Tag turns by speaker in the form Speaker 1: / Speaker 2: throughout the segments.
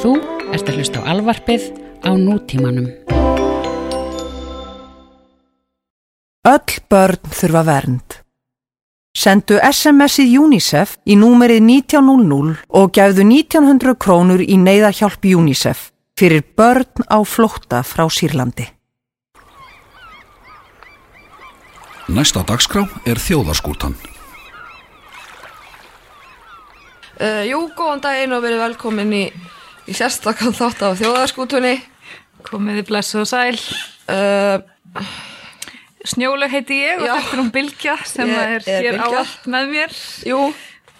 Speaker 1: Þú ert að hlusta á alvarpið á nútímanum.
Speaker 2: Öll börn þurfa vernd. Sendu SMS-ið UNICEF í númerið 1900 og gefðu 1900 krónur í neyðahjálp UNICEF fyrir börn á flótta frá Sýrlandi.
Speaker 3: Næsta dagskrá er þjóðarskútan.
Speaker 4: Uh, jú, góðan daginn og verið velkomin í, í sérstakann þátt af þjóðarskútunni.
Speaker 5: Komiði blessu og sæl.
Speaker 4: Uh,
Speaker 5: Snjólaug heiti ég og
Speaker 4: Já.
Speaker 5: þetta er hún Bilgja sem
Speaker 4: Ég
Speaker 5: er
Speaker 4: er
Speaker 5: hér
Speaker 4: Bylgja.
Speaker 5: áallt með mér.
Speaker 4: jú,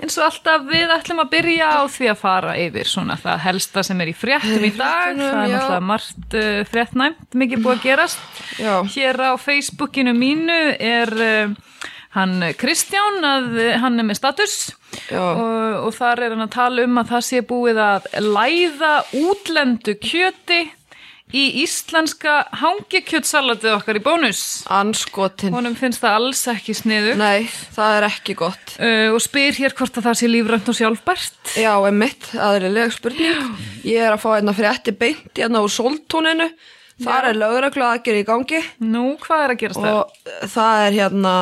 Speaker 5: Eins og alltaf við ætlum að byrja á því að fara yfir svona það helsta sem er í fréttum í dag.
Speaker 4: fréttunum,
Speaker 5: Það er
Speaker 4: já.
Speaker 5: náttúrulega margt uh, fréttnæmt, mikið búið að gerast.
Speaker 4: já,
Speaker 5: Hér á Facebookinu mínu er uh, hann Kristján að uh, hann er með status.
Speaker 4: já,
Speaker 5: Og, og þar er hann að tala um að það sé búið að læða útlendu kjöti í íslenska hangikjötsalatið okkar í bónus.
Speaker 4: anskotin.
Speaker 5: Honum finnst það alls ekki sniðu
Speaker 4: Nei, það er ekki gott.
Speaker 5: uh, og spyr hér hvort að það sé lífrænt og sjálfbært.
Speaker 4: Já, emmitt, aðrilega spurning. Ég er að fá hérna frétti beint hérna úr sóltúninu. Þar er lögregla aðgerið í gangi
Speaker 5: Nú, hvað er að gerast það?
Speaker 4: og það er hérna,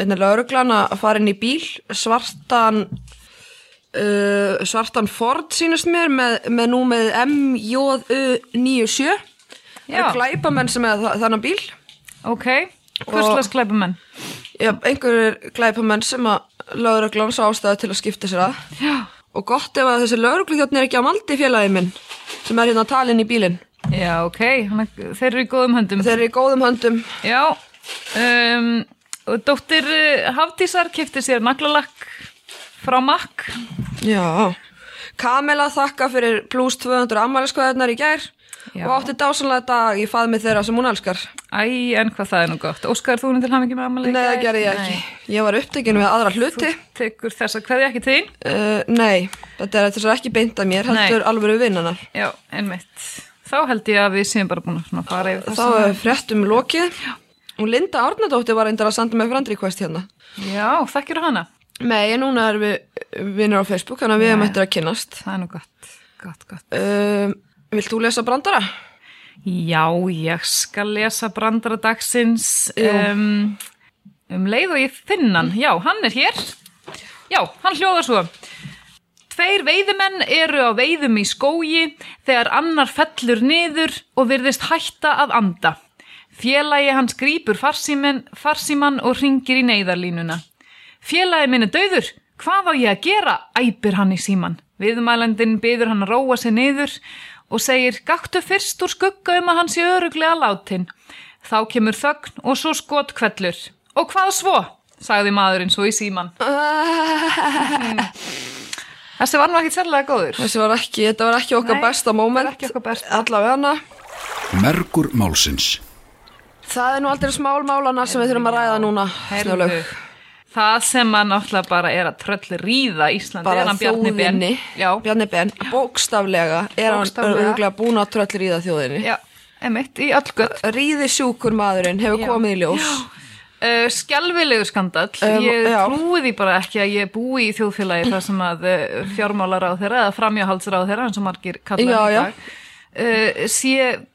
Speaker 4: hérna lögreglan að fara inn í bíl, svartan, uh, svartan Ford sínast mér með, með númið MJU97. Það
Speaker 5: Já,
Speaker 4: er glæpamenn sem er þannig bíl
Speaker 5: ok. Hverslega sklæpumenn?
Speaker 4: Já, einhverjir glæpamenn sem að lauruglan svo ástæði til að skipta sér að
Speaker 5: Já.
Speaker 4: og gott ef að þessi laurugluþjóttn er ekki á maldi félagi minn sem er hérna talinn í bílinn
Speaker 5: Já, ok. Þannig að Þeir eru í góðum höndum.
Speaker 4: þeir eru í góðum höndum
Speaker 5: Já. Um, og dóttir uh, Hafdísar kefti sér naglalakk frá makk.
Speaker 4: Já Kamela þakka fyrir pluss 200 ammæliskoðarnar í gær
Speaker 5: Já.
Speaker 4: og átti dásanlega dag í faðmi þeirra sem hún elskar
Speaker 5: Æ, en hvað það er nú gott. Óskar, þú erum til hann ekki með amalegi?
Speaker 4: Nei, það gerði ég ekki Ég var upptekinn við aðra hluti
Speaker 5: Tekur þessa kveði ekki til þín?
Speaker 4: uh, Nei, þetta er þetta er ekki beint að mér
Speaker 5: Nei.
Speaker 4: heldur alvöru vinnanar
Speaker 5: Já, einmitt. Þá held ég að við séum bara búin að svona fara yfir
Speaker 4: Þá
Speaker 5: þess að...
Speaker 4: er fréttum lokið og Linda Árnadóttir var reyndar að senda með frandrikvæst hérna.
Speaker 5: Já, þekkir hana.
Speaker 4: Nei, en núna erum við vinnur á Facebook, þannig að við erum eftir að kynnast.
Speaker 5: Það er nú gott. Gott, gott.
Speaker 4: Um, vilt þú lesa brandara?
Speaker 5: Já, ég skal lesa brandara dagsins um, um leið og ég finn hann. Já, hann er hér. Já, hann hljóðar svo. Tveir veiðumenn eru á veiðum í skógi þegar annar fellur niður og virðist hætta að anda. Félagi hans grípur farsíman, farsíman og ringir í neyðarlínuna. Félagi minn er döður, hvað á ég að gera, æpir hann í síman. Viðmælandin byður hann að róa sig niður og segir, gaktu fyrst úr skugga um að hann sé öruglega látin. Þá kemur þögn og svo skot kvellur. Og hvað svo, sagði maðurinn svo í síman. Ah. Þessi var nú ekkit sérlega góður.
Speaker 4: Þessi var ekki, þetta var ekki okkar
Speaker 5: Nei,
Speaker 4: besta moment.
Speaker 5: þetta var ekki okkar besta.
Speaker 4: Allavega hana.
Speaker 3: Mergur málsins.
Speaker 4: Það er nú aldrei smálmálana sem við þurfum að ræða núna,
Speaker 5: Heyrðu,
Speaker 4: snjólaug.
Speaker 5: það sem að náttúrulega bara er að tröll ríða Íslandi er
Speaker 4: Bara
Speaker 5: hann Bjarni Ben.
Speaker 4: þjóðinni,
Speaker 5: Já,
Speaker 4: Bjarni Ben, bókstaflega er hann
Speaker 5: Bókstaflega.
Speaker 4: öruglega búin að tröllir í það þjóðinni.
Speaker 5: já, emitt, í öll gött.
Speaker 4: Ríði sjúkur maðurinn hefur komið í ljós.
Speaker 5: Uh, skelvilegu skandall,
Speaker 4: Um,
Speaker 5: ég
Speaker 4: já.
Speaker 5: trúi því bara ekki að ég búi í þjóðfélagi þar sem að uh, fjármálar á þeirra eða framjáhaldsra á þeirra eins og margir kallar
Speaker 4: Já,
Speaker 5: í
Speaker 4: já.
Speaker 5: dag. Uh, sé,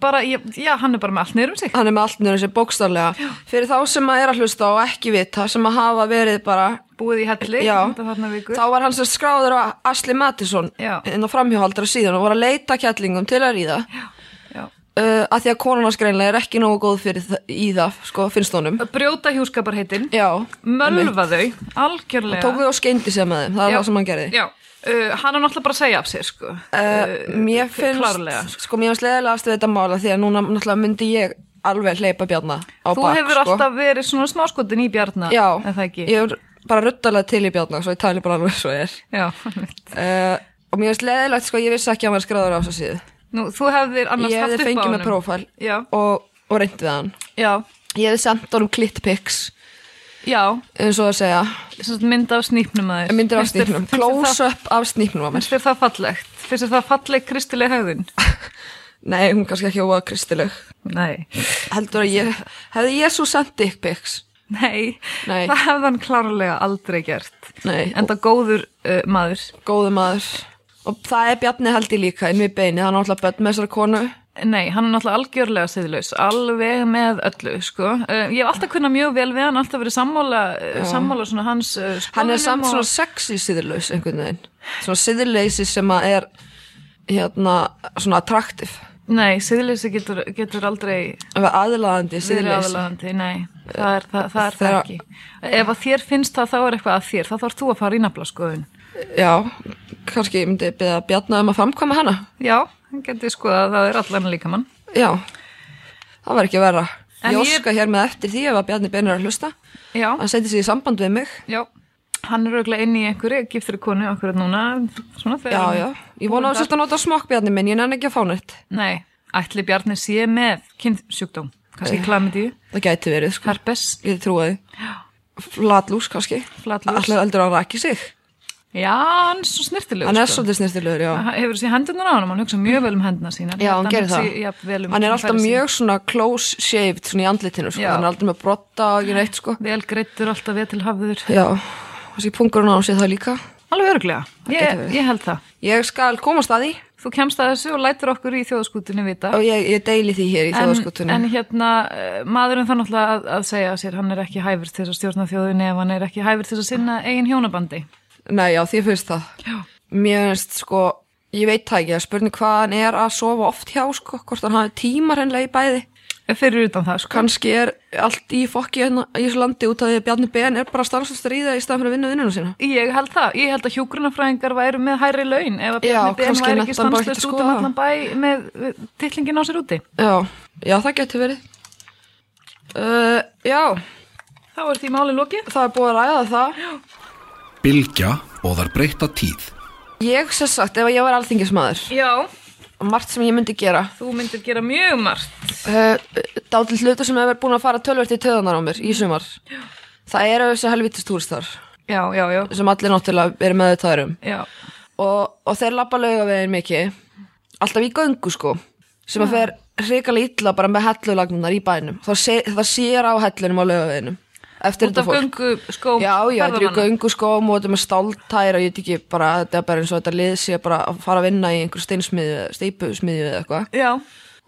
Speaker 5: bara, ég, já, hann er bara með allt niður um sig.
Speaker 4: hann er með allt njög sér bókstarlega fyrir þá sem að er að hlusta og ekki vita sem að hafa verið bara
Speaker 5: Búið í helli,
Speaker 4: já,
Speaker 5: þarna vikur.
Speaker 4: þá var hann sem skráður á Asli Mattisson
Speaker 5: Já.
Speaker 4: inn á framhjóhaldra síðan og voru að leita kjallingum til að ríða uh,
Speaker 5: Já.
Speaker 4: að því að konan hans greinlega er ekki nógu góð fyrir það, í það, sko, finnst honum
Speaker 5: Brjóta hjúskaparheitin,
Speaker 4: já,
Speaker 5: mölva þau, algjörlega.
Speaker 4: tók þau og skeindi sér með þeim það er
Speaker 5: Já.
Speaker 4: það sem hann gerði
Speaker 5: Já, uh, hann er náttúrulega bara að segja af sér sko.
Speaker 4: uh, mér finnst,
Speaker 5: klárlega.
Speaker 4: sko, mér finnst leðilegast við þetta mála því að núna náttúrulega myndi ég alveg hleypa bjarna á
Speaker 5: Þú
Speaker 4: bak,
Speaker 5: hefur
Speaker 4: sko.
Speaker 5: alltaf verið svona smáskotin í Bjarnar
Speaker 4: já,
Speaker 5: En það ekki
Speaker 4: ég er bara ruttalega til í bjarna svo ég tali bara alveg svo er
Speaker 5: Já, einmitt.
Speaker 4: uh, og mér finnst leðilegt sko ég vissi ekki að hann var skráður á þessu síðu
Speaker 5: Nú, þú hefðir annars
Speaker 4: ég
Speaker 5: haft upp á
Speaker 4: hefði fengið með prófæl
Speaker 5: Já,
Speaker 4: og, og reynd við hann
Speaker 5: já,
Speaker 4: ég hefði sendt honum klittpiks
Speaker 5: já
Speaker 4: eins og að segja, um
Speaker 5: Svo mynd af snýpnum að þér
Speaker 4: myndir af
Speaker 5: Finnst þér-
Speaker 4: snýpnum
Speaker 5: finnst þér það-
Speaker 4: close up af snýpnum á mér
Speaker 5: Finnst þér það fallegt? Finnst þér það falleg kristileg höfðin?
Speaker 4: nei, hún kannski ekki óa kristileg
Speaker 5: Nei
Speaker 4: heldur að ég, hefði ég svo sendt dickpiks
Speaker 5: Nei,
Speaker 4: Nei.
Speaker 5: það hefði hann klárlega aldrei gert
Speaker 4: nei,
Speaker 5: Enda góður uh, maður
Speaker 4: góðu maður og það er Bjarni held ég líka inn við beini, hann er alltaf börn með þessari konu
Speaker 5: Nei, hann er náttúrulega algjörlega siðlaus, alveg með öllu, sko. Uh, ég hef alltaf kunnað mjög vel við hann, alltaf verið sammála, uh, sammála svona hans uh, skoðunum.
Speaker 4: hann er samt svona
Speaker 5: og,
Speaker 4: sexy siðurlaus einhvern veginn, svona siðurleysi sem að er hérna svona attraktiv,
Speaker 5: Nei, siðlausi getur, getur aldrei
Speaker 4: aðlaðandi
Speaker 5: verið
Speaker 4: siðurleysi
Speaker 5: aðalagandi, nei. Það er það, það, er það
Speaker 4: Þegar-
Speaker 5: ekki. Ef að þér finnst það, þá er eitthvað að þér. Þá þarf þú að fara í nafla skoðun.
Speaker 4: Já, kannski ég myndi beða Bjarni um að framkvæma hana
Speaker 5: Já, hann getur skoðað að það er allan líkamann.
Speaker 4: Já, það var ekki verra
Speaker 5: En
Speaker 4: Ég
Speaker 5: ég-
Speaker 4: óska hér með eftir því ef að Bjarni beinir að hlusta
Speaker 5: Já.
Speaker 4: hann seti sig í samband við mig
Speaker 5: Já, hann er auðvitað inn í einhverju, giftur konu okkur núna, svona þegar
Speaker 4: Já,
Speaker 5: hann-
Speaker 4: já, ég vona að setja að nota smokk Bjarni minn, ég nenni ekki að fá nætt
Speaker 5: Nei, ætli Bjarni sé með kynnsjúkdóm,
Speaker 4: Eh.
Speaker 5: kannski klamidíu,
Speaker 4: Það gæti verið, sko,
Speaker 5: herpes,
Speaker 4: ég trúi því Flatlús kannski
Speaker 5: Flatlús.
Speaker 4: Allir eldur að raki sig
Speaker 5: já, hann er svo snirtilegur.
Speaker 4: Hann er
Speaker 5: sko.
Speaker 4: svolítið snirtilegur, já
Speaker 5: Ha- Hefur þessi hendunar á hann, hann hugsa mjög vel um hendina sína.
Speaker 4: Já, hann gerir það
Speaker 5: Já, vel um
Speaker 4: Hann er alltaf
Speaker 5: kynfæri sín.
Speaker 4: mjög svona close shaved svona í andlitinu, sko,
Speaker 5: Já.
Speaker 4: hann er aldrei með brotta og ekki neitt, sko
Speaker 5: Vel greittur, alltaf vel til hafður.
Speaker 4: Já, þessi pungurinn á hann sé það líka
Speaker 5: Alveg örglega,
Speaker 4: getur
Speaker 5: ég,
Speaker 4: verið.
Speaker 5: ég held það.
Speaker 4: Ég skal komast að því
Speaker 5: Þú kemst að þessu og lætur okkur í þjóðskútunni vita.
Speaker 4: og ég, ég deili því hér í
Speaker 5: En, en
Speaker 4: þjóðaskutunum
Speaker 5: hérna, eh, maðurinn þannig náttúrulega að, að segja sér, hann er ekki hæfur til þess að stjórna þjóðinni ef hann er ekki hæfur til þess að sinna eigin hjónabandi.
Speaker 4: Nei, já, því finnst það
Speaker 5: Já.
Speaker 4: Mér finnst sko, ég veit það ekki að spurning hvað hann er að sofa oft hjá sko, hvort hann hafi tíma hreinlega í bæði
Speaker 5: Fyrir utan það, sko.
Speaker 4: kannski er allt í fokki hérna í þessu landi út af því að Bjarni Ben er bara stanslust í það í staðan fyrir að vinna vinnuna sína
Speaker 5: Ég held það, ég held að hjúgrunafræðingar væru með hærri laun ef að
Speaker 4: Já,
Speaker 5: Bjarni Ben
Speaker 4: kannski
Speaker 5: væri
Speaker 4: nennti
Speaker 5: ekki
Speaker 4: hann bara ekki
Speaker 5: stanslust
Speaker 4: að
Speaker 5: út um
Speaker 4: skoða.
Speaker 5: allan bæ með eh, titlingin á sér úti.
Speaker 4: Já, já það getur verið uh, Já,
Speaker 5: Þá er því máli lokið.
Speaker 4: það er búið að ræða það
Speaker 3: Bilgja og þar breyta tíð.
Speaker 4: Ég sér sagt, ef ég var alþingismæður
Speaker 5: Já,
Speaker 4: margt sem ég myndi gera
Speaker 5: þú myndir gera mjög margt.
Speaker 4: uh, dátil hlutu sem hefur búin að fara tölvert í töðanar á mér í sumar Það eru þessi helvitistúristar
Speaker 5: Já, já, já.
Speaker 4: sem allir náttúrulega eru með þetta um
Speaker 5: Já,
Speaker 4: og, og þeir lappa laugavegin mikið alltaf í göngu sko sem að fer hrikalega illa bara með hellulagnunar í bænum það, sé, það sér á hellunum á laugaveginum eftir
Speaker 5: út
Speaker 4: þetta
Speaker 5: af
Speaker 4: fólk
Speaker 5: göngu skóm
Speaker 4: já, já, þetta er í
Speaker 5: ferðamanna.
Speaker 4: göngu sko og þetta er með stáltæra, ég veit ekki bara þetta er bara eins og þetta lið sé bara að fara að vinna í einhver steinsmiðju, eða steipusmiðju eða eitthvað
Speaker 5: Já,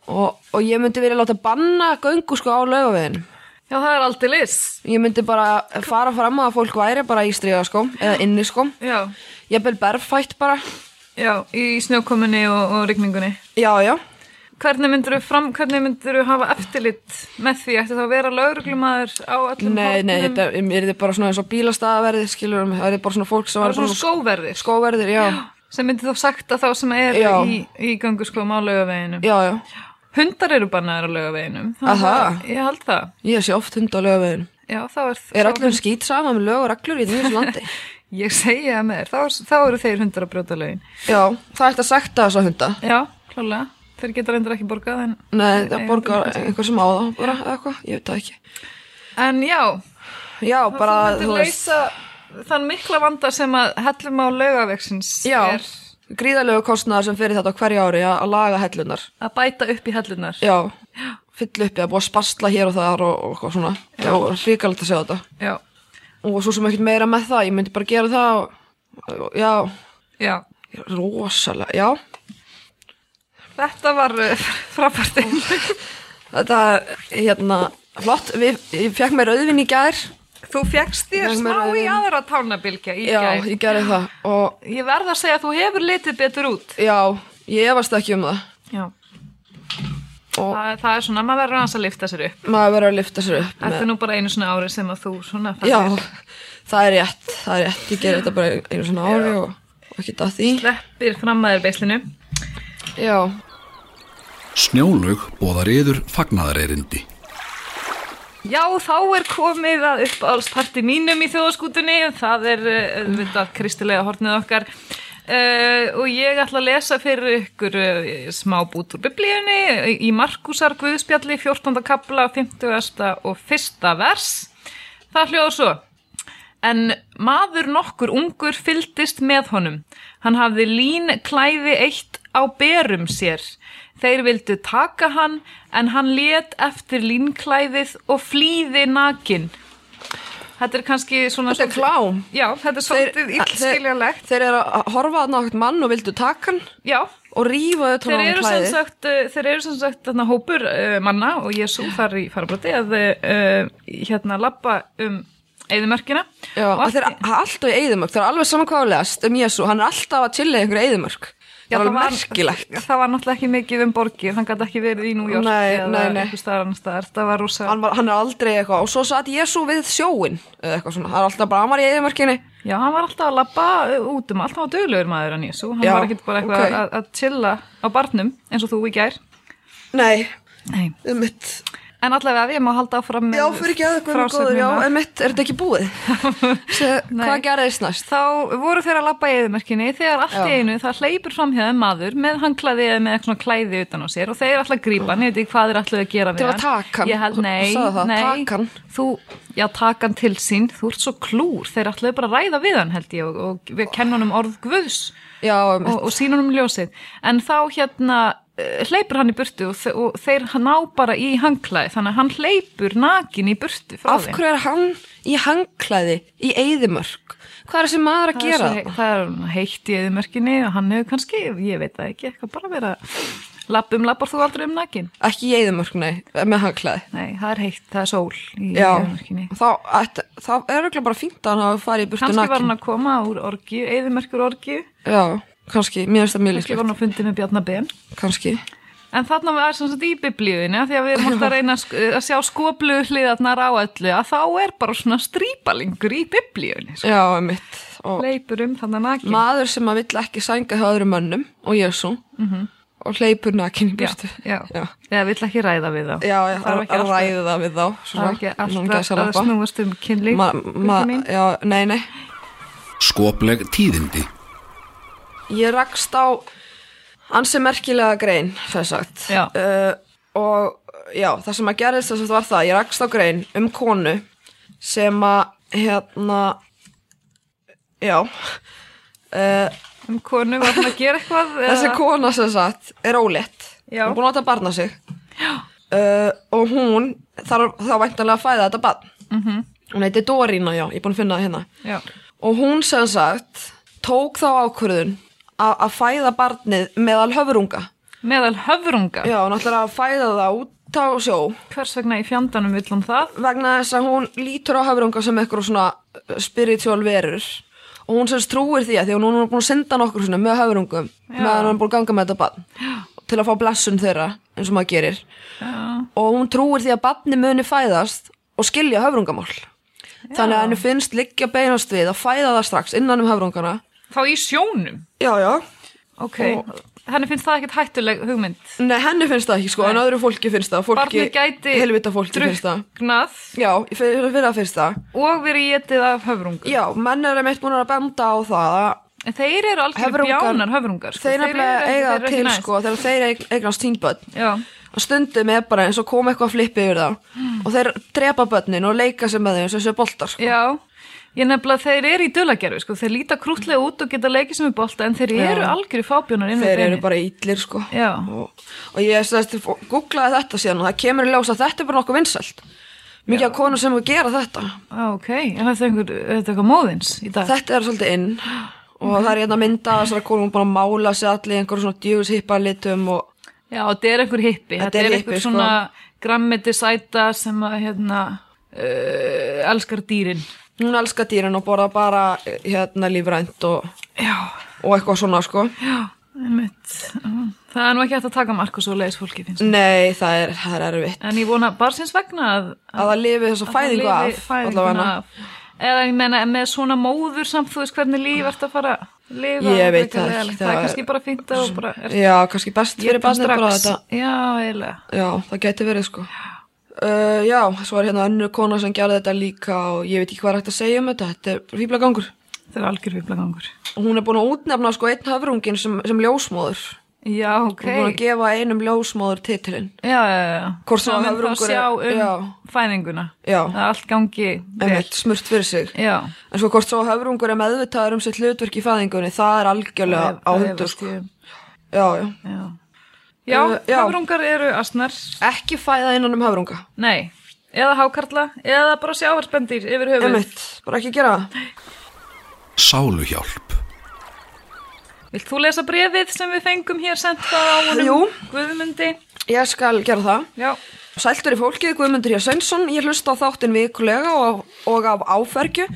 Speaker 4: og, og ég myndi verið láta banna göngu sko á laugaveginum
Speaker 5: já, það er aldrei lis.
Speaker 4: ég myndi bara fara fram að fólk væri bara í stríða sko eða inni sko,
Speaker 5: Já,
Speaker 4: ég bel berfætt bara
Speaker 5: já, í snjókominni og, og rigningunni.
Speaker 4: já, já
Speaker 5: Hvernig myndir þú fram, hvernig myndir þú hafa eftirlit með því? Ætti þá að vera lauruglumaður á öllum
Speaker 4: Nei, nei,
Speaker 5: hornum?
Speaker 4: þetta er þetta bara svona eins og bílastæðaverði, skilur um, það er bara svona fólk sem
Speaker 5: Það
Speaker 4: var
Speaker 5: eru svona skóverðir
Speaker 4: skóverðir, já,
Speaker 5: sem myndir þú sagt að þá sem er
Speaker 4: Já.
Speaker 5: í, í gangu skoðum á laugaveginum.
Speaker 4: já, já,
Speaker 5: Hundar eru bannaðar á laugaveginum.
Speaker 4: Aha.
Speaker 5: Ég held það.
Speaker 4: ég sé oft hund á lögaveginu.
Speaker 5: Já, þá er,
Speaker 4: Er
Speaker 5: þá,
Speaker 4: allir skýt saman með lög og reglur í þessu landi?
Speaker 5: Ég segja það með þér, þá, er- þá eru þeir hundar að brjóta lögin.
Speaker 4: já, það ert að sekta þessa hunda.
Speaker 5: Já, klálega. Þeir geta reyndar ekki borgað en...
Speaker 4: Nei, það
Speaker 5: Nei,
Speaker 4: borgar
Speaker 5: þetta er
Speaker 4: einhver sem á það bara, eða eitthvað, ég veit það ekki.
Speaker 5: En já,
Speaker 4: Já, bara,
Speaker 5: þú
Speaker 4: þú
Speaker 5: myndir
Speaker 4: veist,
Speaker 5: leysa þann mikla vanda sem að hellum á laugavegsins
Speaker 4: Já.
Speaker 5: er
Speaker 4: gríðalegu kostnaðar sem fyrir þetta á hverju ári að, að laga hellunar.
Speaker 5: að bæta upp í hellunar.
Speaker 4: Já, fyll upp eða búið að spastla hér og þar og, og eitthvað svona. Já, hrikalegt að segja þetta.
Speaker 5: Já,
Speaker 4: Og svo sem ekkert meira með það, ég myndi bara gera það og, og já,
Speaker 5: já.
Speaker 4: Rosalega, já
Speaker 5: Þetta var uh, frábært einnig.
Speaker 4: Þetta er hérna flott, við, ég fekk mér auðvinn í gær
Speaker 5: Þú fegst þér
Speaker 4: Ég
Speaker 5: smá
Speaker 4: meira
Speaker 5: í
Speaker 4: við-
Speaker 5: aðra tánabilgja í
Speaker 4: Já,
Speaker 5: gær.
Speaker 4: ég gerði það og
Speaker 5: Ég verð að segja að þú hefur litið betur út.
Speaker 4: já, ég efast ekki um það
Speaker 5: Já.
Speaker 4: Og-
Speaker 5: Það, það er svona, maður verður aðeins að lifta sér upp.
Speaker 4: maður verður að lifta sér upp
Speaker 5: Þetta er nú bara einu svona ári sem að þú svona
Speaker 4: Já,
Speaker 5: ferðir.
Speaker 4: það er rétt, það er rétt, ég gerði þetta bara einu svona ári og, og ekki það því
Speaker 5: Sleppir fram að þér beislinu.
Speaker 4: Já,
Speaker 3: Snjólaug bóðar yður fagnaðareirindi.
Speaker 5: Já, þá er komið að uppáhaldsparti mínum í þjóðaskútunni. Það er, uh, auðvitað, kristilega hornið okkar. Uh, og ég ætla að lesa fyrir ykkur uh, smá bút úr biblíunni í Markusar Guðspjalli, 14. kapla, 50. og 1. vers. Það hljóður svo. En maður nokkur ungur fylgdist með honum. Hann hafði lín klæði eitt á berum sér. Þeir vildu taka hann, en hann let eftir línklæðið og flýði nakin. Þetta er kannski svona...
Speaker 4: Þetta er klám.
Speaker 5: Já, þetta er svolítið illskiljanlegt.
Speaker 4: Þeir eru að horfa að nátt mann og vildu taka hann
Speaker 5: Já,
Speaker 4: og rífa þau
Speaker 5: þeir
Speaker 4: tónum
Speaker 5: eru sem
Speaker 4: klæði.
Speaker 5: sagt, uh, þeir eru sem sagt þarna, hópur uh, manna og Jésu far í farabroti að uh, hérna lappa um eðumörkina
Speaker 4: Já,
Speaker 5: og
Speaker 4: og
Speaker 5: allt,
Speaker 4: þeir eru alltaf í eyðumörk, þeir eru alveg samankvæðulegast um Jésu, hann er alltaf að chilla í einhverju eyðumörk.
Speaker 5: Já,
Speaker 4: Það er alveg merkilegt.
Speaker 5: það var náttúrulega ekki mikið um borgir, hann gæti ekki verið í New York
Speaker 4: Nei,
Speaker 5: eða
Speaker 4: nei, nei.
Speaker 5: einhvers staðar annars staðar, það var rosa
Speaker 4: Hann, var, hann er aldrei eitthvað, og svo satt Jésu við sjóin, eða eitthvað svona, hann er alltaf bara, hann var í eyðumörkinni.
Speaker 5: Já, hann var alltaf að labba uh, út um allt, hann var döglegur maður hann Jésu, hann
Speaker 4: Já,
Speaker 5: var ekkert bara eitthvað
Speaker 4: ok.
Speaker 5: að, að chilla á barnum eins og þú í gær
Speaker 4: Nei,
Speaker 5: Nei.
Speaker 4: um mitt.
Speaker 5: En allavega ég má halda áfram með hérna.
Speaker 4: Já, fyrir ekki aðeins, hvað er góður, já,
Speaker 5: frásögnina.
Speaker 4: um mitt, er þetta ekki búið? Se,
Speaker 5: Nei.
Speaker 4: hvað gerðist næst?
Speaker 5: þá voru þeir að labba í eðumörkinni þegar allt í
Speaker 4: Já.
Speaker 5: einu það hleypur fram hjá þeim maður með hanglaði eða með eitthvað svona klæði utan á sér og þeir ætla að grípa hann, ég veit ekki hvað þeir ætla að gera við
Speaker 4: Til að taka hann.
Speaker 5: Ég held,
Speaker 4: Þú-
Speaker 5: nei,
Speaker 4: þú sagði það,
Speaker 5: nei,
Speaker 4: taka hann.
Speaker 5: Þú, já, taka hann til sín, þú ert svo klúr, þeir ætlaðu bara að ræða við hann held ég og, og við kenna honum orð guðs
Speaker 4: Já, um
Speaker 5: og, og sína honum ljósið en þá hérna eh, hleypur hann í burtu og, þe- og þeir ná bara í hanglaði þannig að hann hleypur nakin í burtu frá
Speaker 4: af
Speaker 5: þeim.
Speaker 4: hverju er hann í hangklæði í eyðimörk? Hvað er þessi maður að
Speaker 5: Það er
Speaker 4: gera
Speaker 5: svo
Speaker 4: það?
Speaker 5: hei- Það er heitt í eðumörkinni og hann hefur kannski, ég veit það ekki, eitthvað bara vera lappum lappar þú aldrei um nakin.
Speaker 4: Ekki í eyðimörk, nei, með hangklæði.
Speaker 5: Nei, það er heitt, það er sól í
Speaker 4: Já,
Speaker 5: eðumörkinni.
Speaker 4: þá, ætti- þá er auðvitað bara fínt að hann hafa farið í burtu
Speaker 5: Kannski var
Speaker 4: nakin.
Speaker 5: hann að koma úr orgju, eðumörkur orgju,
Speaker 4: Já, kannski, mér finnst það mjög
Speaker 5: kannski var
Speaker 4: líklegt.
Speaker 5: hann að fundi með Bjarnabenn.
Speaker 4: Kannski.
Speaker 5: En þarna var sem sagt í biblíuðinu, af því að við erum alltaf að reyna að sk- að sjá skoblu hliðarnar á öllu, að þá er bara svona strípalingur í biblíuðinu. Sko.
Speaker 4: Já, mitt. Og
Speaker 5: Leipur um þarna nakin.
Speaker 4: maður sem að vill ekki sænga hjá öðrum mönnum og Jésu og hleypur nakin í burtu.
Speaker 5: Mhm. já, já.
Speaker 4: Já,
Speaker 5: Eða vill ekki ræða við þá.
Speaker 4: já, já
Speaker 5: Þarf
Speaker 4: að
Speaker 5: ekki
Speaker 4: að
Speaker 5: alltaf-
Speaker 4: ræða það við þá.
Speaker 5: Það er ekki
Speaker 4: langaði
Speaker 5: alltaf
Speaker 4: að
Speaker 5: að
Speaker 4: labba.
Speaker 5: snúast um kynlíf
Speaker 4: Ma, ma,
Speaker 5: Gutti mín.
Speaker 4: já, nei, nei.
Speaker 3: Skopleg tíðindi.
Speaker 4: Ég rakst á ansi merkilega grein, þess sagt.
Speaker 5: Já.
Speaker 4: Eh, og já, það sem að gerðist þess að var það, ég rakst á grein um konu sem að, hérna, já, uh,
Speaker 5: um konu var hann að gera eitthvað
Speaker 4: þessi
Speaker 5: eða-
Speaker 4: kona sem sagt er ólétt
Speaker 5: Já.
Speaker 4: hún er búin að láta barna sig uh, og hún þarf þá væntanlega að fæða þetta barn -hmm. hún heiti Dorina, já, ég er búin að finna það hérna
Speaker 5: já,
Speaker 4: og hún sem sagt tók þá ákvörðun a- að fæða barnið meðal höfrunga
Speaker 5: meðal höfrunga
Speaker 4: já, hún ætlar að fæða það út á sjó
Speaker 5: hvers vegna í fjandanum vill hún það
Speaker 4: vegna þess að hún lítur á höfrunga sem eitthvað svona uh, spiritual verur og hún semst trúir því að því að hún er búin að senda nokkur svona með höfrungum meðan hún er búin að ganga með þetta barn til að fá blessun þeirra eins og maður gerir
Speaker 5: já,
Speaker 4: og hún trúir því að barni muni fæðast og skilja höfrungamál þannig að henni finnst liggja beinast við að fæða það strax innan um höfrungana
Speaker 5: þá í sjónum
Speaker 4: já, já.
Speaker 5: ok, henni finnst það ekkert hættuleg hugmynd
Speaker 4: Nei, henni finnst það ekki sko, en öðru fólki finnst það fólki,
Speaker 5: barnið gæti
Speaker 4: helvita fólki finnst það
Speaker 5: drukknað
Speaker 4: já, fyrir, fyrir það finnst það
Speaker 5: og verið getið af höfrungum
Speaker 4: já, menn er einmitt búin að benda á það að
Speaker 5: en þeir eru algjör
Speaker 4: Höfrungar-
Speaker 5: bjánar höfrungar sko.
Speaker 4: þeir nefnilega
Speaker 5: eru ekki-
Speaker 4: eiga
Speaker 5: þeir eru ekki
Speaker 4: til
Speaker 5: næs.
Speaker 4: sko þegar þeir eig- eignast tínböld
Speaker 5: já,
Speaker 4: og stundum er bara eins og kom eitthvað að flippi yfir þá og þeir drepa börnin og leika sem með þeim sem þessu boltar sko.
Speaker 5: Hmm. já Ég nefnilega þeir eru í dulagerfi, sko, þeir líta krútlega út og geta leikið sem er bolta en þeir eru algjöru fábjónar inn við
Speaker 4: þeir eru
Speaker 5: beinið.
Speaker 4: bara ítlir sko
Speaker 5: Já.
Speaker 4: og, og ég sest, googlaði þetta síðan og það kemur í ljós að þetta er bara nokkuð vinsælt mikið af konur sem gera þetta
Speaker 5: Á, Ok, en þetta er einhver, er þetta eitthvað móðins í dag?
Speaker 4: þetta er svolítið inn og
Speaker 5: Mhm.
Speaker 4: það er hérna mynda að þessara konum búin að mála sér allir einhverjum svona djöfus litum og
Speaker 5: Já, þetta er einhver hippi, þetta, er,
Speaker 4: hippi,
Speaker 5: einhver
Speaker 4: sko.
Speaker 5: svona grammiti sæta sem að, hérna, uh, elskar dýrin.
Speaker 4: hún elskar dýrin og borða bara hérna lífrænt og,
Speaker 5: Já,
Speaker 4: og eitthvað svona sko
Speaker 5: já, einmitt. Það er nú ekki hægt að taka mark og svo leiðis fólki finnst. mér.
Speaker 4: Nei, það er, það er erfitt
Speaker 5: En ég vona barnsins vegna að,
Speaker 4: að það lifi þessa
Speaker 5: að
Speaker 4: fæðingu
Speaker 5: það lifi
Speaker 4: af
Speaker 5: fæðinguna
Speaker 4: allavega
Speaker 5: af. Eða ég meina, með svona móður samt, þú veist hvernig líf ert að fara að lifa.
Speaker 4: Ég veit það
Speaker 5: er
Speaker 4: ekki,
Speaker 5: leiðilegt.
Speaker 4: það
Speaker 5: Það er
Speaker 4: er-
Speaker 5: kannski bara fínt að þú bara ert
Speaker 4: Já, kannski best fyrir
Speaker 5: geta
Speaker 4: barnið bara þetta
Speaker 5: Já, eiginlega.
Speaker 4: Já, það gæti verið sko uh, Já, svo er hérna önnur kona sem gerði þetta líka og ég veit ekki hvað er hægt að segja um þetta þetta er fíblagangur
Speaker 5: Það er algjör fíblagangur.
Speaker 4: og hún er búin að útnefna sko einn höfrungin sem, sem ljósmóður
Speaker 5: Já, ok.
Speaker 4: hún er búin að gefa einum ljósmóður titilinn
Speaker 5: já, já, já.
Speaker 4: Hvort sem að
Speaker 5: Sama um þá
Speaker 4: höfrungur er-
Speaker 5: sjá um
Speaker 4: já.
Speaker 5: fæðinguna
Speaker 4: Já.
Speaker 5: að allt gangi
Speaker 4: en
Speaker 5: vel
Speaker 4: smurt fyrir sig
Speaker 5: já,
Speaker 4: En sko hvort svo höfrungur er meðvitaður um sitt hlutverk í fæðingunni, það er algjörlega
Speaker 5: Það-
Speaker 4: á
Speaker 5: það
Speaker 4: hundur
Speaker 5: efast
Speaker 4: sko.
Speaker 5: ég um.
Speaker 4: Já, já.
Speaker 5: já, já
Speaker 4: Uh, já.
Speaker 5: höfrungar eru asnar
Speaker 4: Ekki fæða innan um höfrunga.
Speaker 5: nei, eða hákarla, eða bara sjávarspendir yfir höfuð.
Speaker 4: Emitt, bara ekki gera það.
Speaker 3: Sáluhjálp
Speaker 5: Vilt þú lesa brefið sem við fengum hér sendt það á honum?
Speaker 4: Jú.
Speaker 5: Guðmundi,
Speaker 4: Ég skal gera það.
Speaker 5: já.
Speaker 4: Sæltur í fólkið, Guðmundur J. Sveinsson, ég hlusta á þáttin vikulega og, og af áfergju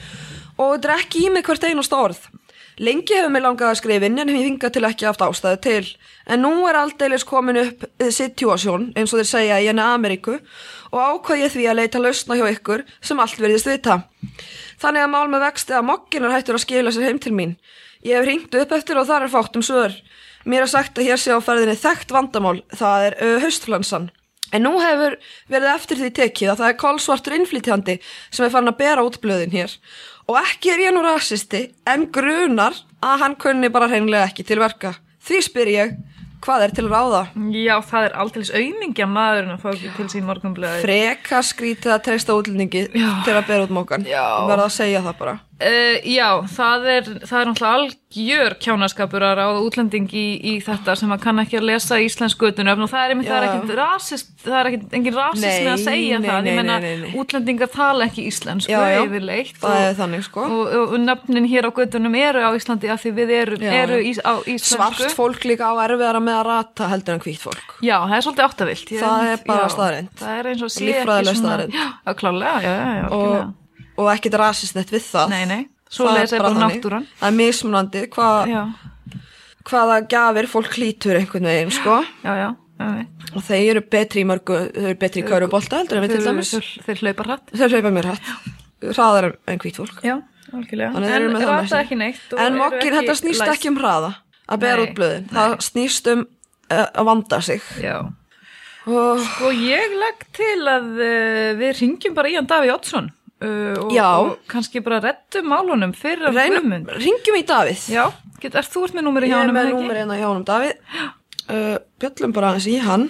Speaker 4: og drekki í mig hvert einast orð. Lengi hefur mig langað að skrifa inn en ég hinga til ekki haft ástæðu til. En nú er aldeilis komin upp situasjón, eins og þeir segja í enni Ameríku og ákvað ég því að leita lausna hjá ykkur sem allt verðist vita. Þannig að mál með vexti að mokkinar hættur að skila sér heim til mín. Ég hef ringt upp eftir og þar er fátt um svör. Mér er sagt að hér sé á ferðinni þekkt vandamál, það er uh, haustflansan. En nú hefur verið eftir því tekið að það er kolsvartur innflýtjandi sem er farin að bera út blöðin hér. Og ekki er ég nú rasisti, en grunar að hann kunni bara hreinlega ekki til verka. Því spyr ég, hvað er til ráða?
Speaker 5: Já, það er aldrei auðmingja maðurinn að fá ekki til sín morgunblöði.
Speaker 4: Freka skrítið að treysta útlendingi
Speaker 5: Já.
Speaker 4: til að bera út mókan.
Speaker 5: Já.
Speaker 4: Verða að segja það bara.
Speaker 5: Uh, já, það er, það er náttúrulega algjör kjánaskapur að ráða útlending í, í þetta sem að kann ekki að lesa íslensku utanöfn og það er einmitt, það er
Speaker 4: Já.
Speaker 5: ekkit rasist, það er ekkit engin rasist
Speaker 4: Nei,
Speaker 5: með að segja
Speaker 4: nei,
Speaker 5: það,
Speaker 4: nei,
Speaker 5: ég menna
Speaker 4: nei, nei, nei.
Speaker 5: útlendingar tala ekki íslensku
Speaker 4: Já, já.
Speaker 5: yfirleitt
Speaker 4: Það
Speaker 5: og,
Speaker 4: er þannig, sko.
Speaker 5: og, og, og nöfnin hér á göttunum eru á Íslandi af því við eru,
Speaker 4: Já,
Speaker 5: eru
Speaker 4: já.
Speaker 5: ís, á íslensku.
Speaker 4: Svart fólk líka á erfiðara með að rata heldur en hvít fólk.
Speaker 5: Já, það er svolítið áttavilt. Ég-
Speaker 4: Það er bara
Speaker 5: já,
Speaker 4: staðreynd.
Speaker 5: Það er eins og sé
Speaker 4: Líffræðileg
Speaker 5: svona-
Speaker 4: staðreynd.
Speaker 5: Já, já, klálega, já, já, já,
Speaker 4: Og,
Speaker 5: algjörlega.
Speaker 4: og ekkert rasist neitt við það.
Speaker 5: Nei, nei, svo
Speaker 4: Það
Speaker 5: leiðis er bara
Speaker 4: þannig.
Speaker 5: náttúran.
Speaker 4: Það er mismunandi hvað
Speaker 5: Já,
Speaker 4: hvaða gafir fólk hlýtur einhvern veginn, sko.
Speaker 5: já, já, já.
Speaker 4: Og þeir eru betri í mörgu, þau eru betri í kaurubólta heldur en við til dæmis.
Speaker 5: Þeir, þeir hlaupa hratt.
Speaker 4: Þau hlaupa mér hætt. Hraðar en hvít fólk.
Speaker 5: Já, algjörlega.
Speaker 4: Þannig þeir eru
Speaker 5: en
Speaker 4: með það
Speaker 5: rata
Speaker 4: næst.
Speaker 5: ekki neitt. og
Speaker 4: En
Speaker 5: eru
Speaker 4: mokkin,
Speaker 5: ekki
Speaker 4: þetta snýst
Speaker 5: læs.
Speaker 4: ekki um hraða að bera
Speaker 5: Nei,
Speaker 4: út blöðin. Það snýst um uh, að vanda sig.
Speaker 5: Já.
Speaker 4: Og,
Speaker 5: Sko ég legg til að uh, við ringjum bara í hann Daví Oddsson. Uh, og,
Speaker 4: Já.
Speaker 5: Og kannski bara reddum málunum fyrir að
Speaker 4: reynum,
Speaker 5: Guðmund.
Speaker 4: ringjum í Davíð.
Speaker 5: Já, get, er þú ert með númeri
Speaker 4: Ég
Speaker 5: hjá
Speaker 4: er
Speaker 5: hann?
Speaker 4: með númerið hérna hjá honum Davíð. Uh, bjöllum bara aðeins í hann.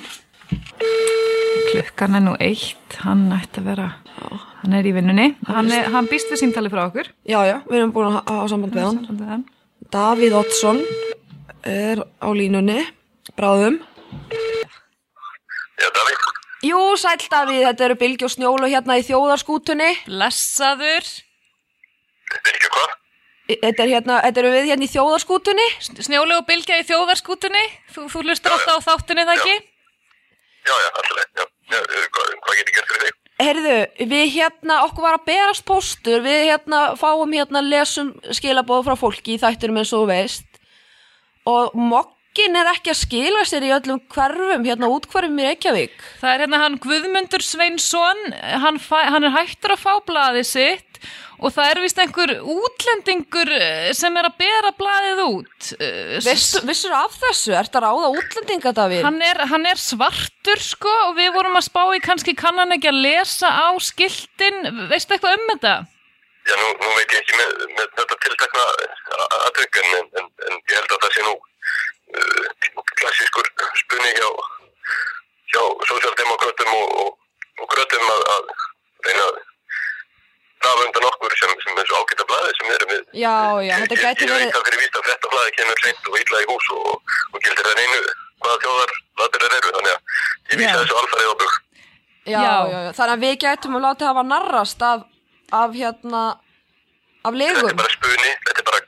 Speaker 5: Klukkan er nú eitt, hann ætti að vera, hann er í vinnunni. Hann, er, hann býst við símtali frá okkur.
Speaker 4: Já, já, við erum búin að ha- hafa samband við hann.
Speaker 5: Sambandið hann.
Speaker 4: Davíð Oddsson er á línunni, bráðum.
Speaker 6: Já, Davíð.
Speaker 4: Jú, sæl Davíð, þetta eru Bilgi og Snjólu hérna í þjóðarskútunni.
Speaker 5: Blessaður,
Speaker 6: Vilja hvað?
Speaker 4: Í- Þetta er hérna, þetta eru við hérna í þjóðarskútunni.
Speaker 5: snjólu og bylgja í þjóðarskútunni, þú, þú hlustur alltaf á þáttunni það ekki?
Speaker 6: Já, já, alltaf leið. Já, já, eh, hvað, hvað getur gert fyrir þig?
Speaker 4: Herðu, við hérna, okkur var að berast póstur, við hérna fáum hérna lesum skilaboð frá fólki í þætturum eins og þú veist og mokkin er ekki að skila sér í öllum hverfum, hérna útkvarfum í Reykjavík.
Speaker 5: Það er hérna hann Guðmundur Sveinsson, hann, fæ, hann er hættur að fá blaðið sitt og það er vist einhver útlendingur eh, sem er að bera blaðið út. Eh, s-
Speaker 4: Vissu, vissur af þessu, ert að ráða útlendinga, Davíð?
Speaker 5: Hann er, hann er svartur sko og við vorum að spá í kannski kann hann ekki að lesa á skiltin, veistu eitthvað um þetta?
Speaker 6: Já, nú, nú veit ég ekki með, með þetta tiltakna aðtökk, en, en, en, en ég held að það sé nú uh, klassískur spunni hjá, hjá sósjaldemokratum og, og, og grötum að, að reyna að rafa undan okkur sem, sem er svo ágæta blaði sem við erum við.
Speaker 4: Já, já, þetta
Speaker 6: Ég-
Speaker 4: gæti
Speaker 6: Ég veit
Speaker 4: verið,
Speaker 6: það fyrir víst að þetta blaði kemur seint og illa í hús og, og, og gildir það einu hvaða þjóðar latur þær eru, þannig að ég vísa
Speaker 5: Já.
Speaker 6: þessu alfarið á bug.
Speaker 4: já, já, já, þannig að við gætum að láta hafa narrast af, af hérna, af
Speaker 6: Þetta er
Speaker 4: legum.
Speaker 6: bara spuni, þetta er bara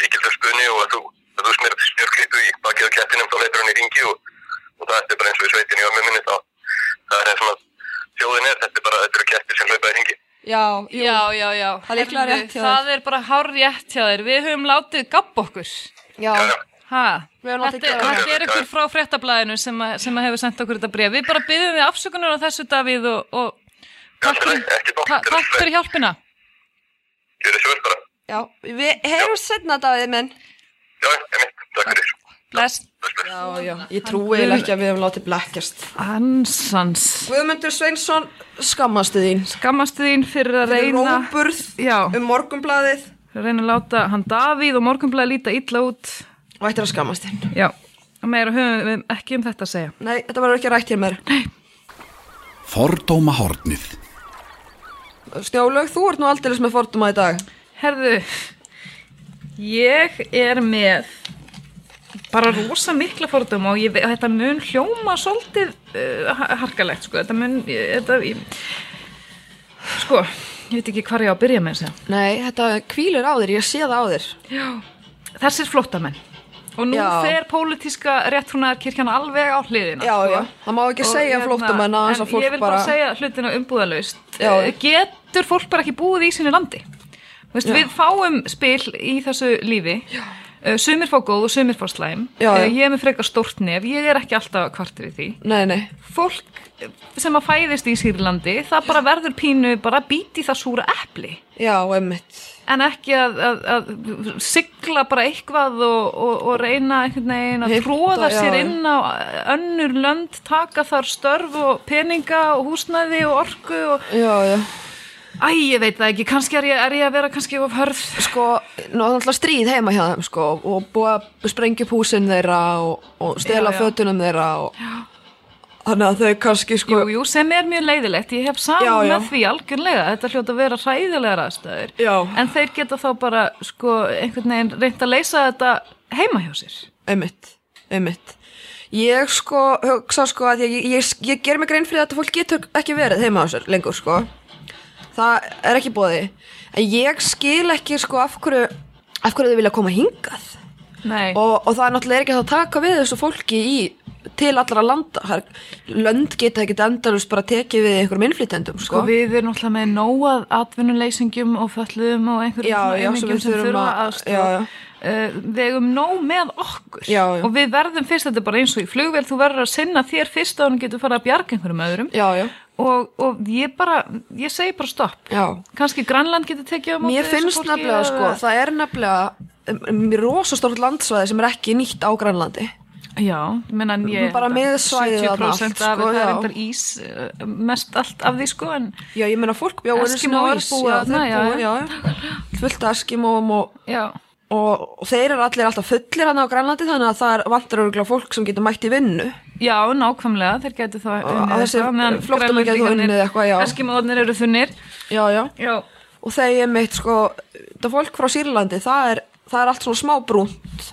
Speaker 6: síkildur spuni og að þú, að þú smjör, smjörklippu í bakið á kettinum þá leipur hann í ringi og, og það er bara eins og í sveitinu í ömmu minni þá það er eins og að þjóðin er, þetta er bara, þetta eru kettir sem hlaupa í ringi.
Speaker 4: Já, jú,
Speaker 5: Já, já, já.
Speaker 4: Það er líklega
Speaker 5: Heyrðu,
Speaker 4: rétt hjá þér.
Speaker 5: Það er bara hár rétt hjá þér. Við höfum látið gabb okkur.
Speaker 4: já,
Speaker 5: Ha?
Speaker 4: Við höfum látið
Speaker 5: Þetta,
Speaker 4: gabba okkur.
Speaker 5: þetta er einhver frá fréttablaðinu sem, að, sem að hefur sendt okkur þetta bregð. Við bara byggjum við afsökunar á þessu Davíð og, og takk, fyrir,
Speaker 6: Ekki bótt,
Speaker 5: ta, takk fyrir hjálpina.
Speaker 6: Gjör þessu vel bara.
Speaker 4: já, við heyrjum setna, Davíð, menn.
Speaker 6: Já, ég mitt, takk fyrir.
Speaker 5: Bless.
Speaker 4: Já, já, ég trúi eiginlega ekki að við hefum látið blekkjast.
Speaker 5: Ansans.
Speaker 4: Guðmundur Sveinsson, skammastu þín.
Speaker 5: Skammastu þín fyrir að
Speaker 4: Fyrir
Speaker 5: reyna,
Speaker 4: Róburð
Speaker 5: Já.
Speaker 4: um morgunblaðið
Speaker 5: fyrir að reyna að láta hann Davíð og morgunblæði líta illa út.
Speaker 4: og ættir að skammast þín.
Speaker 5: Já. Og meira höfum við ekki um þetta að segja.
Speaker 4: Nei, þetta verður ekki rætt hér meira.
Speaker 3: Fordóma hornið
Speaker 4: Snjólaug, þú ert nú aldeilis með forduma í dag.
Speaker 5: Herðu, ég er með bara rosa mikla fordum og ég, ve- þetta mun hljóma svolítið uh, harkalegt, sko, þetta mun, ég- þetta, ég, sko, ég veit ekki hvar ég á að byrja með þess að.
Speaker 4: Nei, þetta kvílir á þér, ég sé það á þér
Speaker 5: Þessir flóttamenn. Og nú
Speaker 4: Já.
Speaker 5: fer pólitíska réttrúnaðarkirkjan alveg á hliðina.
Speaker 4: Já,
Speaker 5: sko.
Speaker 4: já, það má ekki
Speaker 5: Og hérna,
Speaker 4: segja flóttamenn að þess
Speaker 5: en
Speaker 4: að fólk
Speaker 5: ég vil bara,
Speaker 4: bara-
Speaker 5: segja hlutina umbúðalaust
Speaker 4: Já.
Speaker 5: Eh, getur fólk bara ekki búið í sínu landi Þú Veist,
Speaker 4: Já.
Speaker 5: við fáum spil í þessu lífi Eh, sumir fá góð og sumir fá slæm
Speaker 4: Já, já.
Speaker 5: Eh, ég er með frekar stórt nef ég er ekki alltaf kvartir í því
Speaker 4: Nei, nei,
Speaker 5: fólk eh, sem að fæðist í Sýrlandi það bara verður pínu bara býti það súra epli
Speaker 4: já, emmitt
Speaker 5: en ekki að, að, að sigla bara eitthvað og, og, og reyna einhvern veginn að
Speaker 4: Hitt
Speaker 5: tróða
Speaker 4: og- já,
Speaker 5: sér
Speaker 4: já.
Speaker 5: inn á önnur lönd, taka þar störf og peninga og húsnæði og orku og
Speaker 4: Já, já
Speaker 5: æ, ég veit það ekki, kannski er ég, er ég að vera kannski of hörð
Speaker 4: Sko, ná, það er alltaf stríð heima hjá þeim, sko Og búið að sprengja upp húsin þeirra Og, og stela
Speaker 5: Já, já.
Speaker 4: fötunum þeirra og... Þannig að þau kannski, sko
Speaker 5: Jú, jú, sem er mjög leiðilegt, ég hef
Speaker 4: Já,
Speaker 5: saman
Speaker 4: já.
Speaker 5: með því algjörlega, þetta hljóta að vera hræðilegar aðstæður,
Speaker 4: Já.
Speaker 5: en þeir geta þá bara, sko, einhvern veginn reynt að leysa þetta heima hjá sér.
Speaker 4: Einmitt, einmitt Ég sko, hugsa sko að ég, ég, ég ger mig grein fyrir að þetta fólk getur ekki verið heima á sér lengur sko Það er ekki bóði En ég skil ekki sko af hverju, af hverju þau vilja koma hingað
Speaker 5: Nei,
Speaker 4: og, og það er náttúrulega ekki hægt að taka við þessu fólki í til allra landa Það er- Lönd geta ekkit endalust bara tekið við einhverjum innflytendum sko,
Speaker 5: sko, við erum náttúrulega með nóað atvinnuleysingjum og föllum og einhverjum
Speaker 4: Já,
Speaker 5: svona
Speaker 4: já, sem
Speaker 5: aumingjum
Speaker 4: við
Speaker 5: sem
Speaker 4: þurfum
Speaker 5: þurfa
Speaker 4: að-
Speaker 5: aðstofa.
Speaker 4: já, já.
Speaker 5: Uh, við eigum nóg með okkur
Speaker 4: Já, já.
Speaker 5: og við verðum fyrst, þetta er bara eins og í flugvél, þú verður að sinna þér fyrst að hún getur fara að bjarga einhverjum öðrum
Speaker 4: Já, já,
Speaker 5: og, og ég bara, ég segi bara stopp.
Speaker 4: já
Speaker 5: Kannski Grænland getur tekið á móti
Speaker 4: Mér
Speaker 5: þessu
Speaker 4: finnst
Speaker 5: fólki
Speaker 4: nefnilega sko,
Speaker 5: eða-
Speaker 4: það er nefnilega rosastort landsvæði sem er ekki nýtt á Grænlandi
Speaker 5: Já, menn ég
Speaker 4: Bara með svæðið þarna allt,
Speaker 5: 70% af
Speaker 4: sko,
Speaker 5: það er
Speaker 4: já.
Speaker 5: endar ís eh, mest allt af því sko en
Speaker 4: Já, ég meina fólk bjóður
Speaker 5: Eskimóis, já, þarna, já,
Speaker 4: já, já. Fullt af Eskimóum og,
Speaker 5: já,
Speaker 4: og, og þeir eru allir alltaf fullir hann á Grænlandi þannig að það er vantar örgulega fólk sem getur mætt í vinnu.
Speaker 5: já, nákvæmlega þeir getur þá unnið
Speaker 4: þessir
Speaker 5: eitthvað, meðan
Speaker 4: flóttamenn gætu þá
Speaker 5: Grænlendingarnir-
Speaker 4: unnið eitthvað, já.
Speaker 5: Eskimóðarnir eru þunnir
Speaker 4: Já, já.
Speaker 5: Já,
Speaker 4: Og þeir er meitt, sko, þetta fólk frá Sýrlandi, það er, það er allt svona smábrúnt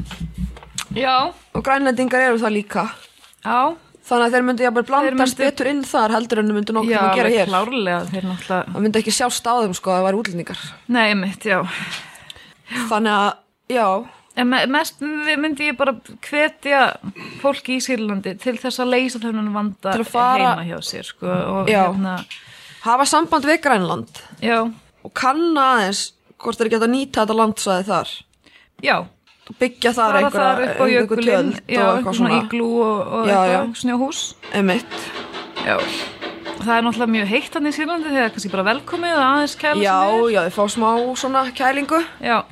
Speaker 5: já,
Speaker 4: og Grænlandingar eru það líka.
Speaker 5: já
Speaker 4: Þannig að þeir myndu jafnvel blandast
Speaker 5: myndu-
Speaker 4: betur inn þar heldur en þau myndu nokkuð
Speaker 5: Já,
Speaker 4: að gera
Speaker 5: alveg
Speaker 4: hér.
Speaker 5: klárlega þeir náttúrulega
Speaker 4: Það myndi ekki sjást á þeim, sko, að það væri útlendingar.
Speaker 5: Nei, mitt, já
Speaker 4: Þannig að, já,
Speaker 5: En me- mest myndi ég bara hvetja fólki í Sýrlandi til þess að leysa þennan vanda
Speaker 4: Til að fara-
Speaker 5: heima hjá sér sko, og
Speaker 4: Já.
Speaker 5: hérna,
Speaker 4: hafa samband við Grænland
Speaker 5: já,
Speaker 4: og kanna aðeins hvort þeir geta nýta þetta landsvæði þar
Speaker 5: já
Speaker 4: og byggja þar
Speaker 5: fara þar
Speaker 4: einhverja-
Speaker 5: upp á
Speaker 4: einhver
Speaker 5: jökulinn
Speaker 4: tjöld og
Speaker 5: já, eitthvað
Speaker 4: eitthvað svona
Speaker 5: svona íglú og, og
Speaker 4: Já,
Speaker 5: eitthvað
Speaker 4: já.
Speaker 5: snjóhús
Speaker 4: emitt
Speaker 5: já. það er náttúrulega mjög heitt hann í Sýrlandi þegar kannski bara velkomið og aðeins kæla
Speaker 4: já,
Speaker 5: sem
Speaker 4: já, þið fá smá svona kælingu
Speaker 5: er já,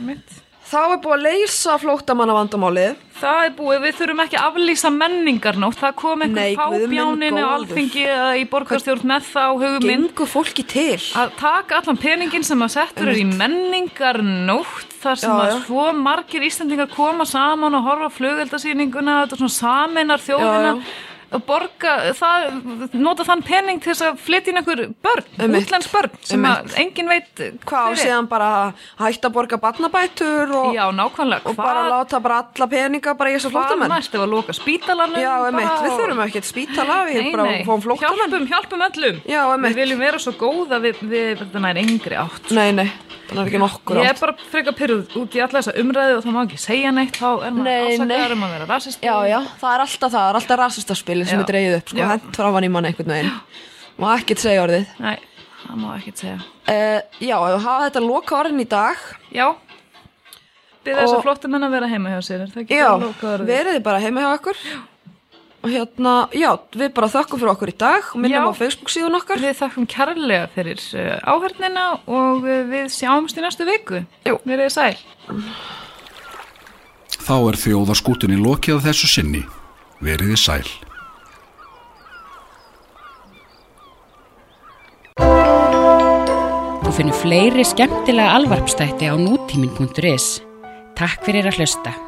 Speaker 5: mitt
Speaker 4: þá er búið að leysa flóttamanna vandamálið
Speaker 5: Það er búið, við þurfum ekki að aflýsa menningarnótt, það kom
Speaker 4: Nei,
Speaker 5: einhver
Speaker 4: guð minn
Speaker 5: fábjáninu á
Speaker 4: góður.
Speaker 5: alþingi eða í borgarstjórn með þá huguminn
Speaker 4: gengur fólki til
Speaker 5: að taka allan peningin sem að settur er í menningarnótt þar sem
Speaker 4: Já,
Speaker 5: að
Speaker 4: já.
Speaker 5: svo margir Íslandingar koma saman og horfa á flugeldasýninguna þetta er svona saminar þjóðina
Speaker 4: Já,
Speaker 5: og borga, það, nota þann pening til þess að flytja inn einhver börn,
Speaker 4: Einmitt.
Speaker 5: útlensk börn sem að engin veit
Speaker 4: hvað
Speaker 5: hver
Speaker 4: og
Speaker 5: er.
Speaker 4: séðan bara að hætta að borga barnabætur og,
Speaker 5: Já, nákvæmlega,
Speaker 4: og bara
Speaker 5: hvað,
Speaker 4: láta bara alla peninga bara í þessu
Speaker 5: hvað
Speaker 4: flóttamenn
Speaker 5: næst ef að loka spítalanum
Speaker 4: já, emitt,
Speaker 5: bara
Speaker 4: við
Speaker 5: og-
Speaker 4: þurfum ekkert spítala við
Speaker 5: Nei,
Speaker 4: bara
Speaker 5: nei,
Speaker 4: fáum flóttamenn
Speaker 5: hjálpum, hjálpum öllum
Speaker 4: Já, einmitt.
Speaker 5: Við viljum vera svo góð að við, við þetta nær yngri átt
Speaker 4: nei, nei, þannig er ekki nokkur
Speaker 5: Ég
Speaker 4: átt.
Speaker 5: er bara frekar pyrruð út í alla þessa umræðu og þá má ekki segja neitt, þá er maður
Speaker 4: Nei, nei.
Speaker 5: ásakaður um að vera rasist.
Speaker 4: Já, já, það er alltaf það, það er alltaf rasistaspilið sem
Speaker 5: Já.
Speaker 4: er dreigð upp, sko,
Speaker 5: Já.
Speaker 4: hent framan í mann einhvern veginn. Má ekkert segja orðið.
Speaker 5: Nei, það má ekki segja.
Speaker 4: Uh, já, ef við hafa þetta loka orðin í dag,
Speaker 5: Já, byrða þess
Speaker 4: Og-
Speaker 5: að flottum henn að vera heima hjá sér, er það ekki
Speaker 4: já,
Speaker 5: bara lokaður?
Speaker 4: verið þið bara heima hjá okkur. Og hérna, já, við bara þökkum fyrir okkur í dag, minnum
Speaker 5: Já.
Speaker 4: á Facebook síðan okkar.
Speaker 5: Við þakkum kærlega fyrir uh, áhörnina og uh, við sjáumst í næstu viku.
Speaker 4: Jú.
Speaker 5: Verið sæl.
Speaker 3: Þá er þjóðaskútunni lokið að þessu sinni. Veriði sæl.
Speaker 1: Þú finnur fleiri skemmtilega alvarpstætti á nútímin.is. Takk fyrir að hlusta.